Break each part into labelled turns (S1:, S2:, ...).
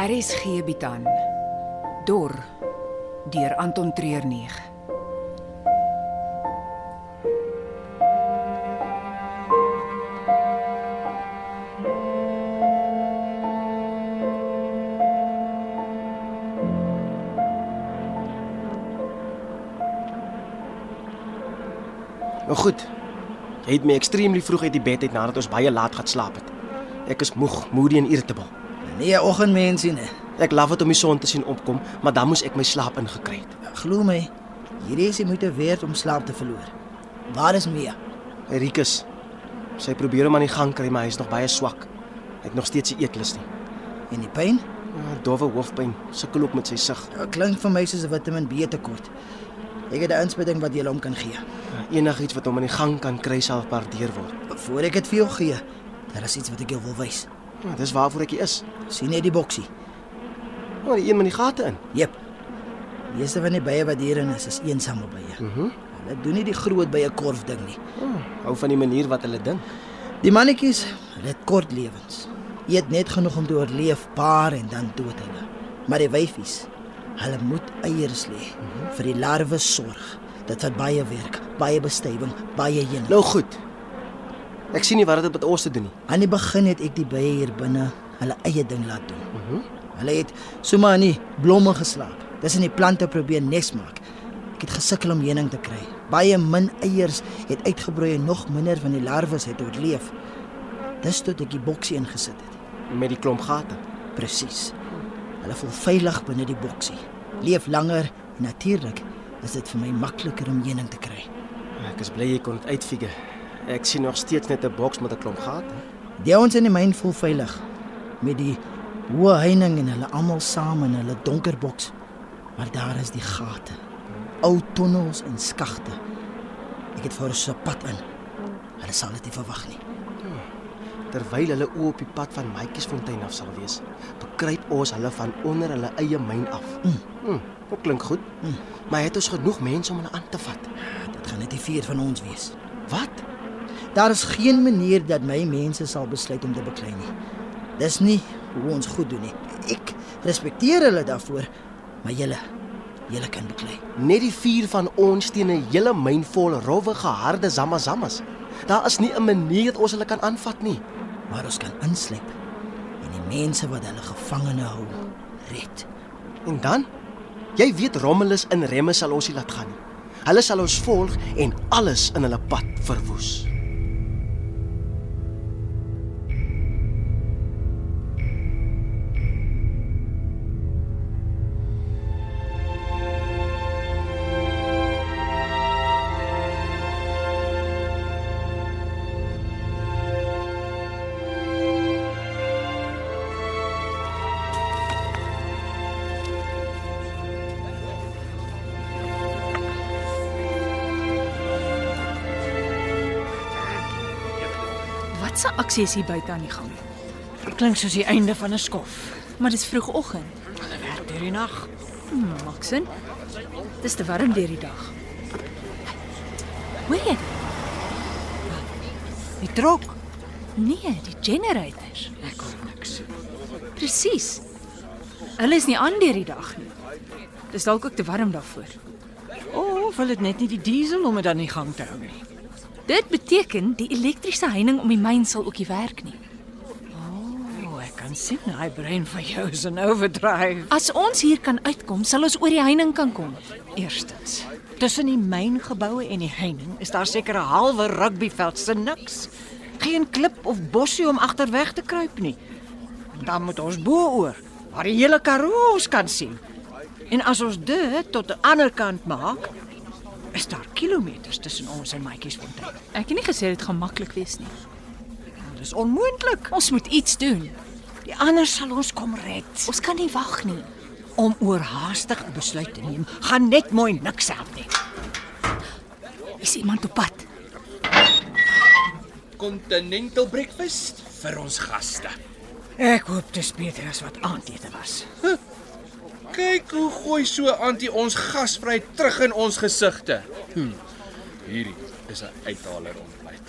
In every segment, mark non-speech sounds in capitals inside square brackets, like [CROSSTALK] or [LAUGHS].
S1: RSG bied aan Dor deur Anton Treuer 9.
S2: Nou goed. Jy het my extremely vroeg uit die bed uit nadat ons baie laat gaan slaap het. Ek is moeg, moody en irritable.
S3: Nee, oggendmensie nee.
S2: Ek laf dit om die son te sien opkom, maar dan moes ek my slaap ingekry het.
S3: Glo my, hierdie is die moeite werd om slaap te verloor. Waar is Mia?
S2: Rikus. Sy probeer hom aan die gang kry, maar hy's nog baie swak. Hy het nog steeds nie eetlus nie.
S3: En die pyn?
S2: 'n Dowwe hoofpyn, sukkel ook met sy sug.
S3: Dit klink vir my soos 'n Vitamiin B tekort. Ek het 'n inspuiting wat jy hom kan gee.
S2: Enigiets wat hom aan die gang kan kry sal waardeer word.
S3: Voor ek dit vir jou gee, daar is iets wat ek jou wil wys.
S2: Ja, dis waarvoor ek hier is.
S3: Sien jy die boksie?
S2: Maar die een met die gate in.
S3: Jep. Meeste van die bye wat hierin is, is eensame bye. Mhm. Mm hulle doen nie die groot bye korf ding nie.
S2: Oh, hou van die manier wat hulle dink.
S3: Die mannetjies, hulle het kort lewens. Eet net genoeg om te oorleef, paar en dan dood hulle. Maar die wyfies, hulle moet eiers lê vir die larwes sorg. Dit vat baie werk, baie bestuiving, baie heen.
S2: Nou goed. Ek sien nie wat dit met ons te doen nie.
S3: Aan die begin het ek die bye hier binne hulle eie ding laat doen. Mhm. Mm hulle het sommer in die blomme geslaap. Dis in die plante probeer nes maak. Ek het gesukkel om heuning te kry. Baie min eiers het uitgebroei en nog minder van die larwes het oorleef. Dis tot ek die boksie ingesit het.
S2: Met die klomp gate.
S3: Presies. Hulle voel veilig binne die boksie. Leef langer en natuurlik is dit vir my makliker om heuning te kry.
S2: Ek is bly jy kon dit uitfigure. Ek sien nog steeds net 'n boks met 'n klomp gate.
S3: Die ouens in die myn voel veilig met die hoë heining en hulle almal saam in hulle donker boks. Maar daar is die gate. Ou tonnels en skagte. Ek het vir hulle so 'n pad in. Hulle sal dit nie verwag nie.
S2: Terwyl hulle oë op die pad van Maatjiesfontein af sal wees, bekruip ons hulle van onder hulle eie myn af. Mm. Mm, dit klink goed. Mm. Maar het ons genoeg mense om hulle aan te vat?
S3: Dit gaan net die vier van ons wees.
S2: Wat?
S3: Daar is geen manier dat my mense sal besluit om te beklei nie. Dis nie hoe ons goed doen nie. Ek respekteer hulle daarvoor, maar julle, julle kan beklei.
S2: Net die vier van ons teen 'n hele myn vol rowwe geharde zamazamas. Daar is nie 'n manier dat ons hulle kan aanvat nie.
S3: Maar ons kan insluip en die mense wat hulle gevangene hou, red.
S2: En dan? Jy weet Rommelus en Remus sal ons nie laat gaan nie. Hulle sal ons volg en alles in hulle pad verwoes.
S4: Wat se aksie is hier buite aan die gang?
S5: Klink soos die einde van 'n skof.
S4: Maar dis vroegoggend.
S5: Werk deur die nag.
S4: Hmm, maak sin. Dis te warm deur die dag. Hoor jy? dit?
S5: Die trok.
S4: Nee, die generators.
S5: Ek hoor niks.
S4: Presies. Hulle is nie aan deur die dag nie. Dis dalk ook te warm daarvoor.
S5: O, of hulle het net nie die diesel om dit aan die gang te hou nie.
S4: Dit beteken die elektriese heining om die myn sal ook nie werk nie.
S5: O, ek kan sien hy brein van jou is in overdrive.
S4: As ons hier kan uitkom, sal ons oor die heining kan kom.
S5: Eerstens, tussen die myngeboue en die heining is daar seker 'n halwe rugbyveld se niks. Geen klip of bossie om agterweg te kruip nie. En dan moet ons bo-oor waar die hele Karoo ons kan sien. En as ons dit tot die ander kant maak, is daar kilometers tussen ons en Maatjiesfontein.
S4: Ek het nie gesê dit gaan maklik wees nie.
S5: Dit is onmoontlik.
S4: Ons moet iets doen.
S5: Die ander sal ons kom red.
S4: Ons kan nie wag nie.
S5: Om oorhaastig 'n besluit te neem, gaan net mooi niks help nie.
S4: Is iemand op pad?
S6: Continental breakfast vir ons gaste.
S5: Ek hoop dit is beter as wat aandete was.
S6: Kyk hoe gooi so antie ons gasvry terug in ons gesigte. Hm. Hierdie is 'n uithaler ontbyt.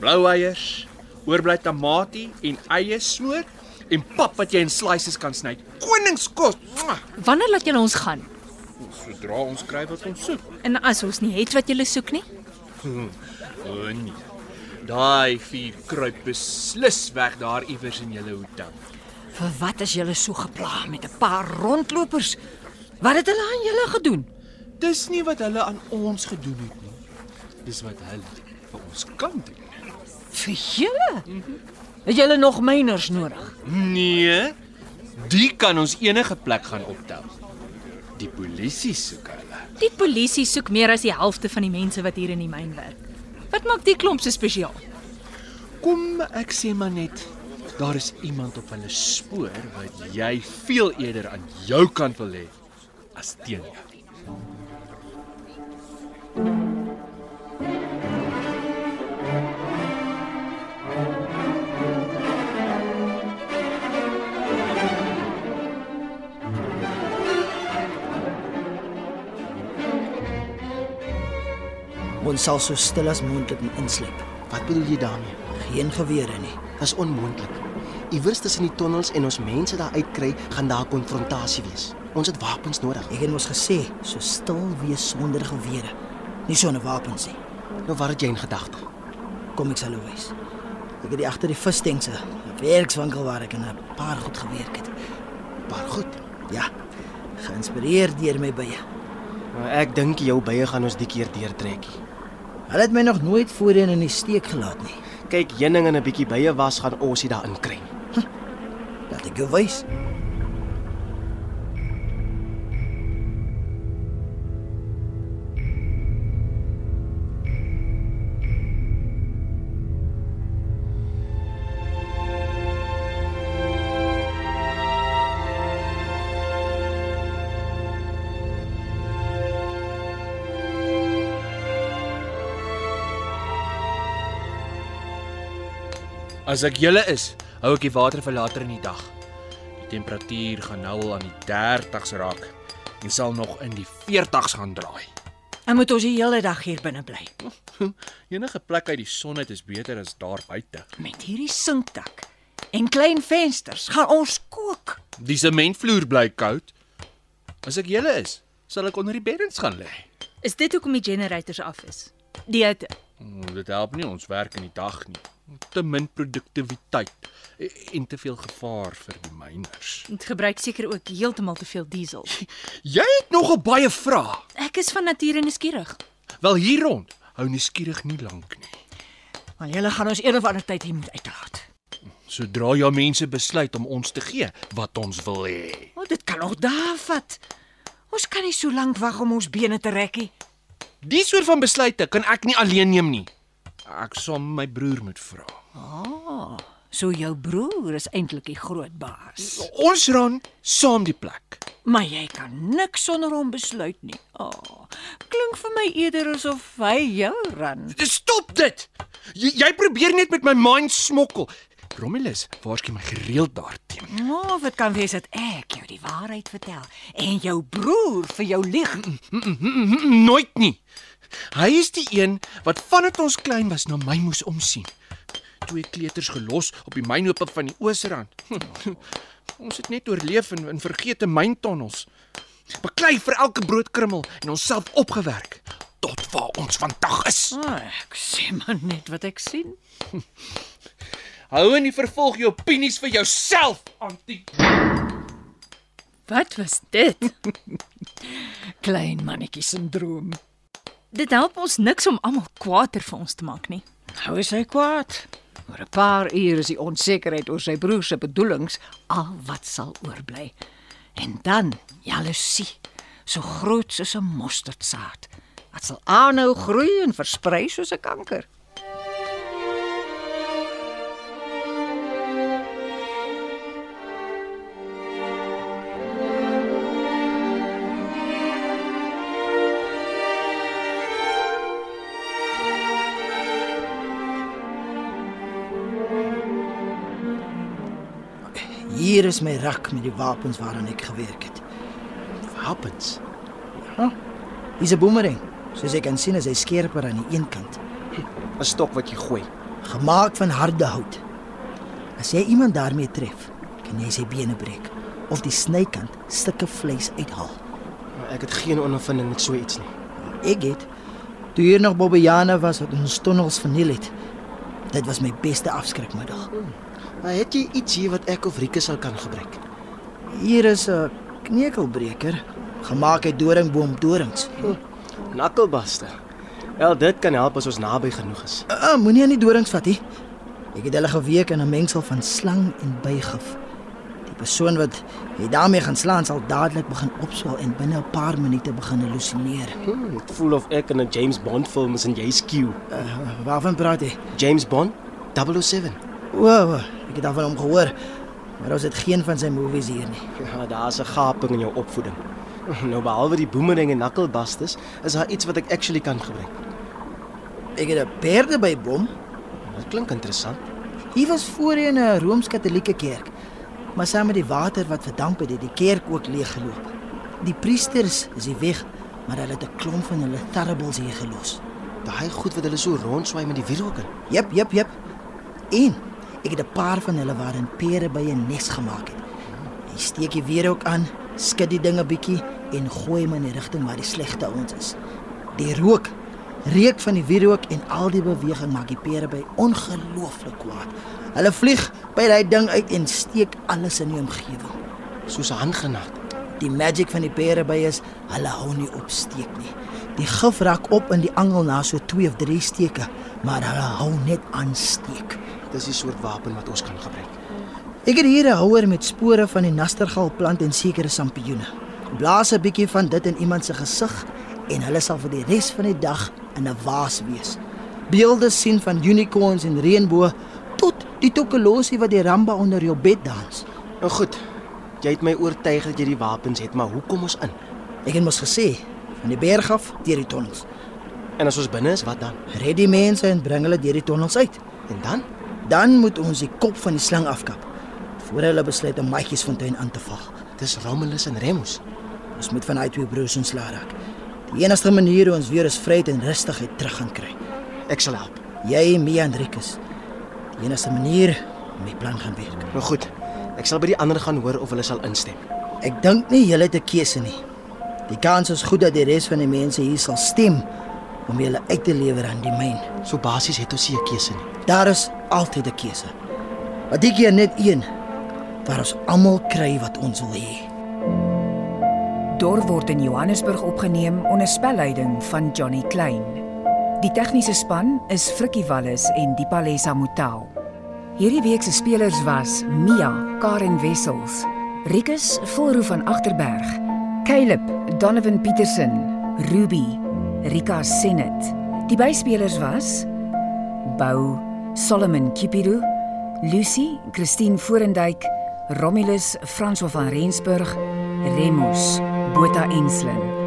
S6: Blou eiers, oorbly tamatie en eie snoer en pap wat jy in slices kan sny. Koningskos. Mwah!
S4: Wanneer laat julle ons gaan?
S6: Sodra ons kry wat ons soek.
S4: En as ons nie het wat julle soek nie?
S6: O nee. Daai vier kruip beslis weg daar iewers in julle hotel.
S5: Vir wat is julle so gepla met 'n paar rondlopers? Wat het hulle aan julle gedoen?
S6: Dis nie wat hulle aan ons gedoen het nie. Dis wat hulle vir ons kan doen.
S5: Vir julle? Het julle nog myners nodig?
S6: Nee. Die kan ons enige plek gaan optel. Die polisie soek hulle.
S4: Die polisie soek meer as die helfte van die mense wat hier in die myn werk. Wat maak die klomp so spesiaal?
S6: Kom, ek sê maar net, daar is iemand op hulle spoor wat jy veel eerder aan jou kant wil hê as teen jou.
S3: Ons sal so stil as moontlik moet insleep.
S2: Wat bedoel jy daarmee?
S3: Geen gewere nie.
S2: Dis onmoontlik. Iewers tussen die tonnels en ons mense daar uitkry, gaan daar konfrontasie wees. Ons het wapens nodig.
S3: Ek het mos gesê, so stil wees sonder gewere, nie sonder wapens nie.
S2: Nou wat het jy in gedagte?
S3: Kom ek sal jou wys. Ek het die agter die visstengse, 'n werkswinkel waar ek aan 'n paar goed gewerk het.
S2: Maar goed.
S3: Ja, geïnspireer deur my bye.
S2: Nou ek dink jou bye gaan ons die keer deurtrekkie.
S3: Hulle het my nog nooit voorheen in die steek gelaat nie.
S2: Kyk, heuning en 'n bietjie bye was gaan ons dit daarin kry.
S3: Laat ek jou wys.
S6: As ek julle is, hou ek die water vir later in die dag. Die temperatuur gaan nou al aan die 30s raak en sal nog in die 40s gaan draai.
S5: En moet ons die hele dag hier binne bly
S6: Enige plek uit die son uit is beter as daar buite.
S5: met hierdie sinkdak en klein vensters? Gaan ons kook?
S6: Die sementvloer bly koud. As ek julle is, sal ek onder die beddens gaan lê.
S4: Is dit hoekom die generators af is? Die hitte.
S6: Mm, Dit help nie ons werk in die dag nie. Te min produktiwiteit e- en te veel gevaar vir die myners.
S4: Dit gebruik seker ook heeltemal te veel
S5: [LAUGHS]
S4: diesel.
S6: Jy het nogal baie vrae.
S4: Ek is van nature nuuskierig.
S6: Wel hier rond hou nuuskierig nie lank nie.
S5: Want julle gaan ons eendag ander tyd hier moet uitlaat.
S6: Sodra jou mense besluit om ons te gee wat ons wil hê.
S5: Want dit kan nog daar vat. Ons kan nie so lank wag om ons bene te rek nie.
S6: Die soort van besluite kan ek nie alleen neem nie. Ek sal my broer moet vra.
S5: So jou broer is eintlik die groot baas.
S6: Ons ran saam die plek.
S5: Maar jy kan niks sonder hom besluit nie. O, oh, klink vir my eerder asof hy jou ran.
S6: Stop dit. Jy, jy probeer net met my mind smokkel. Romulus, waarskynlik my gereeld daarteen.
S5: Nou, wat kan wees dat ek jou die waarheid vertel en jou broer vir jou lieg?
S6: Mm, mm, mm, Nooit nie. Hy is die een wat vandat ons klein was na my moes omsien. Twee kleuters gelos op die mynhope van die Oosrand. Hm, ons het net oorleef in, in vergete myntonnels. Beklei vir elke broodkrummel en onsself opgewerk tot waar ons vandag is.
S5: Oh, ek sê maar net wat ek sien.
S6: Hou in die vervolg jou opinies vir jouself, antiek.
S4: Wat was dit?
S5: Klein mannetjie sindroom.
S4: dit help ons niks om almal kwaader vir ons te maak nie.
S5: Nou is hy kwaad. Oor 'n paar ure is die onsekerheid oor sy broer se bedoelings al wat sal oorbly. En dan jaloesie, so groot soos 'n mosterdsaad, wat sal aanhou groei en versprei soos 'n kanker.
S3: Hier is my rak met die wapens waaraan ek gewerk het.
S2: Wapens.
S3: Hier's 'n boemerang. Soos jy kan sien, is hy skerper aan die een kant,
S2: 'n Stok wat jy gooi.
S3: gemaak van harde hout. As jy iemand daarmee tref, en jy sy bene breek of die snykant stukke vleis uithaal.
S2: Maar Nou, Ek het geen ondervinding met so iets nie.
S3: Ek het toe hier nog Bobbejane was wat ons tonnels verniel het. Dit was my beste afskrikmiddag.
S2: Maar het jy iets hier wat ek of Rieke sal kan gebruik?
S3: Hier is 'n knekelbreker gemaak uit doringboomdorings.
S2: Knucklebuster. Wel, dit kan help as ons naby genoeg is.
S3: Uh, uh, Moenie aan die dorings vat nie. Ek het hulle geweek in 'n mengsel van slang en bygif. Die persoon wat jy daarmee gaan slaan sal dadelik begin opswel en binne 'n paar minute begin hallusineer.
S2: Hmm, dit voel of ek in 'n James Bond film is en jy skew.
S3: Uh, waarvan praat jy?
S2: James Bond 007.
S3: O, o, ek het daarvan hom gehoor. Maar ons het geen van sy movies hier nie.
S2: Ja, daar's 'n gaping in jou opvoeding. Nou behalwe die boomerang en knucklebusters, is daar iets wat ek actually kan gebruik.
S3: Ek het 'n perde by bom.
S2: Dit klink interessant.
S3: Hier was voorheen 'n Rooms-Katolieke kerk, maar saam met die water wat verdamp het, het die kerk ook leeggeloop. Die priesters is die weg, maar hulle het 'n klomp van hulle terribles hier gelos.
S2: Daai goed wat hulle so rondswaai met die wierook in.
S3: Jep, jep, jep. En ek het 'n paar van hulle waarin pere by 'n nes gemaak het. Jy steek die weer ook aan, skud die dinge bietjie en gooi hom in die rigting waar die slegte ouens is. Die rook, reuk van die wierook en al die beweging maak die pere by ongelooflik kwaad. Hulle vlieg by daai ding uit en steek alles in die omgewing.
S2: soos 'n handgranaat.
S3: Die magic van die pereby is hulle hou nie op steek nie. Die gif raak op in die angel na so 2 of 3 steke, maar hulle hou net aan steek.
S2: Dis die soort wapen wat ons kan gebruik.
S3: Ek het hier 'n houer met spore van die nastergalplant en sekere sampioene. Blaas 'n bietjie van dit in iemand se gesig en hulle sal vir die res van die dag in 'n waas wees. Beelde sien van unicorns en reënboë tot die tokkelosie wat die ramba onder jou bed dans.
S2: Nou goed. Jy het my oortuig dat jy die wapens het, maar hoe kom ons in?
S3: Ek het mos gesê van die berg af deur die tonnels.
S2: En as ons binne is, wat dan?
S3: Red die mense en bring hulle deur die tonnels uit.
S2: En dan?
S3: Dan moet ons die kop van die slang afkap voor hulle besluit om Maatjiesfontein aan te val.
S2: Dis Romulus en Remus.
S3: Ons moet van daai twee broers ontslaa raak. Die enigste manier hoe ons weer is vryheid en rustigheid terug gaan kry.
S2: Ek sal help.
S3: Jy, my Andrikus. Die enigste manier om die plan gaan werk.
S2: Nou goed. Ek sal by die ander gaan hoor of hulle sal instem.
S3: Ek dink nie julle het 'n keuse nie. Die kans is goed dat die res van die mense hier sal stem om julle uit te lewer aan die myn.
S2: So basies het ons nie 'n keuse nie.
S3: Daar is altyd 'n keuse. Maar dit keer net een waar ons almal kry wat ons wil hê.
S1: Dor word in Johannesburg opgeneem onder spelleiding van Johnny Klein. Die tegniese span is Frikkie Wallis en Dipalesa Motelo. Hierdie week se spelers was Mia, Karen Wessels, Rikus Volroo van Agterberg, Caleb Donovan Petersen, Ruby, Rika Senet. Die byspelers was Bou, Solomon Kipido, Lucy, Christine Forendyk, Romulus, François van Rensburg, Remus, Botha Enslin,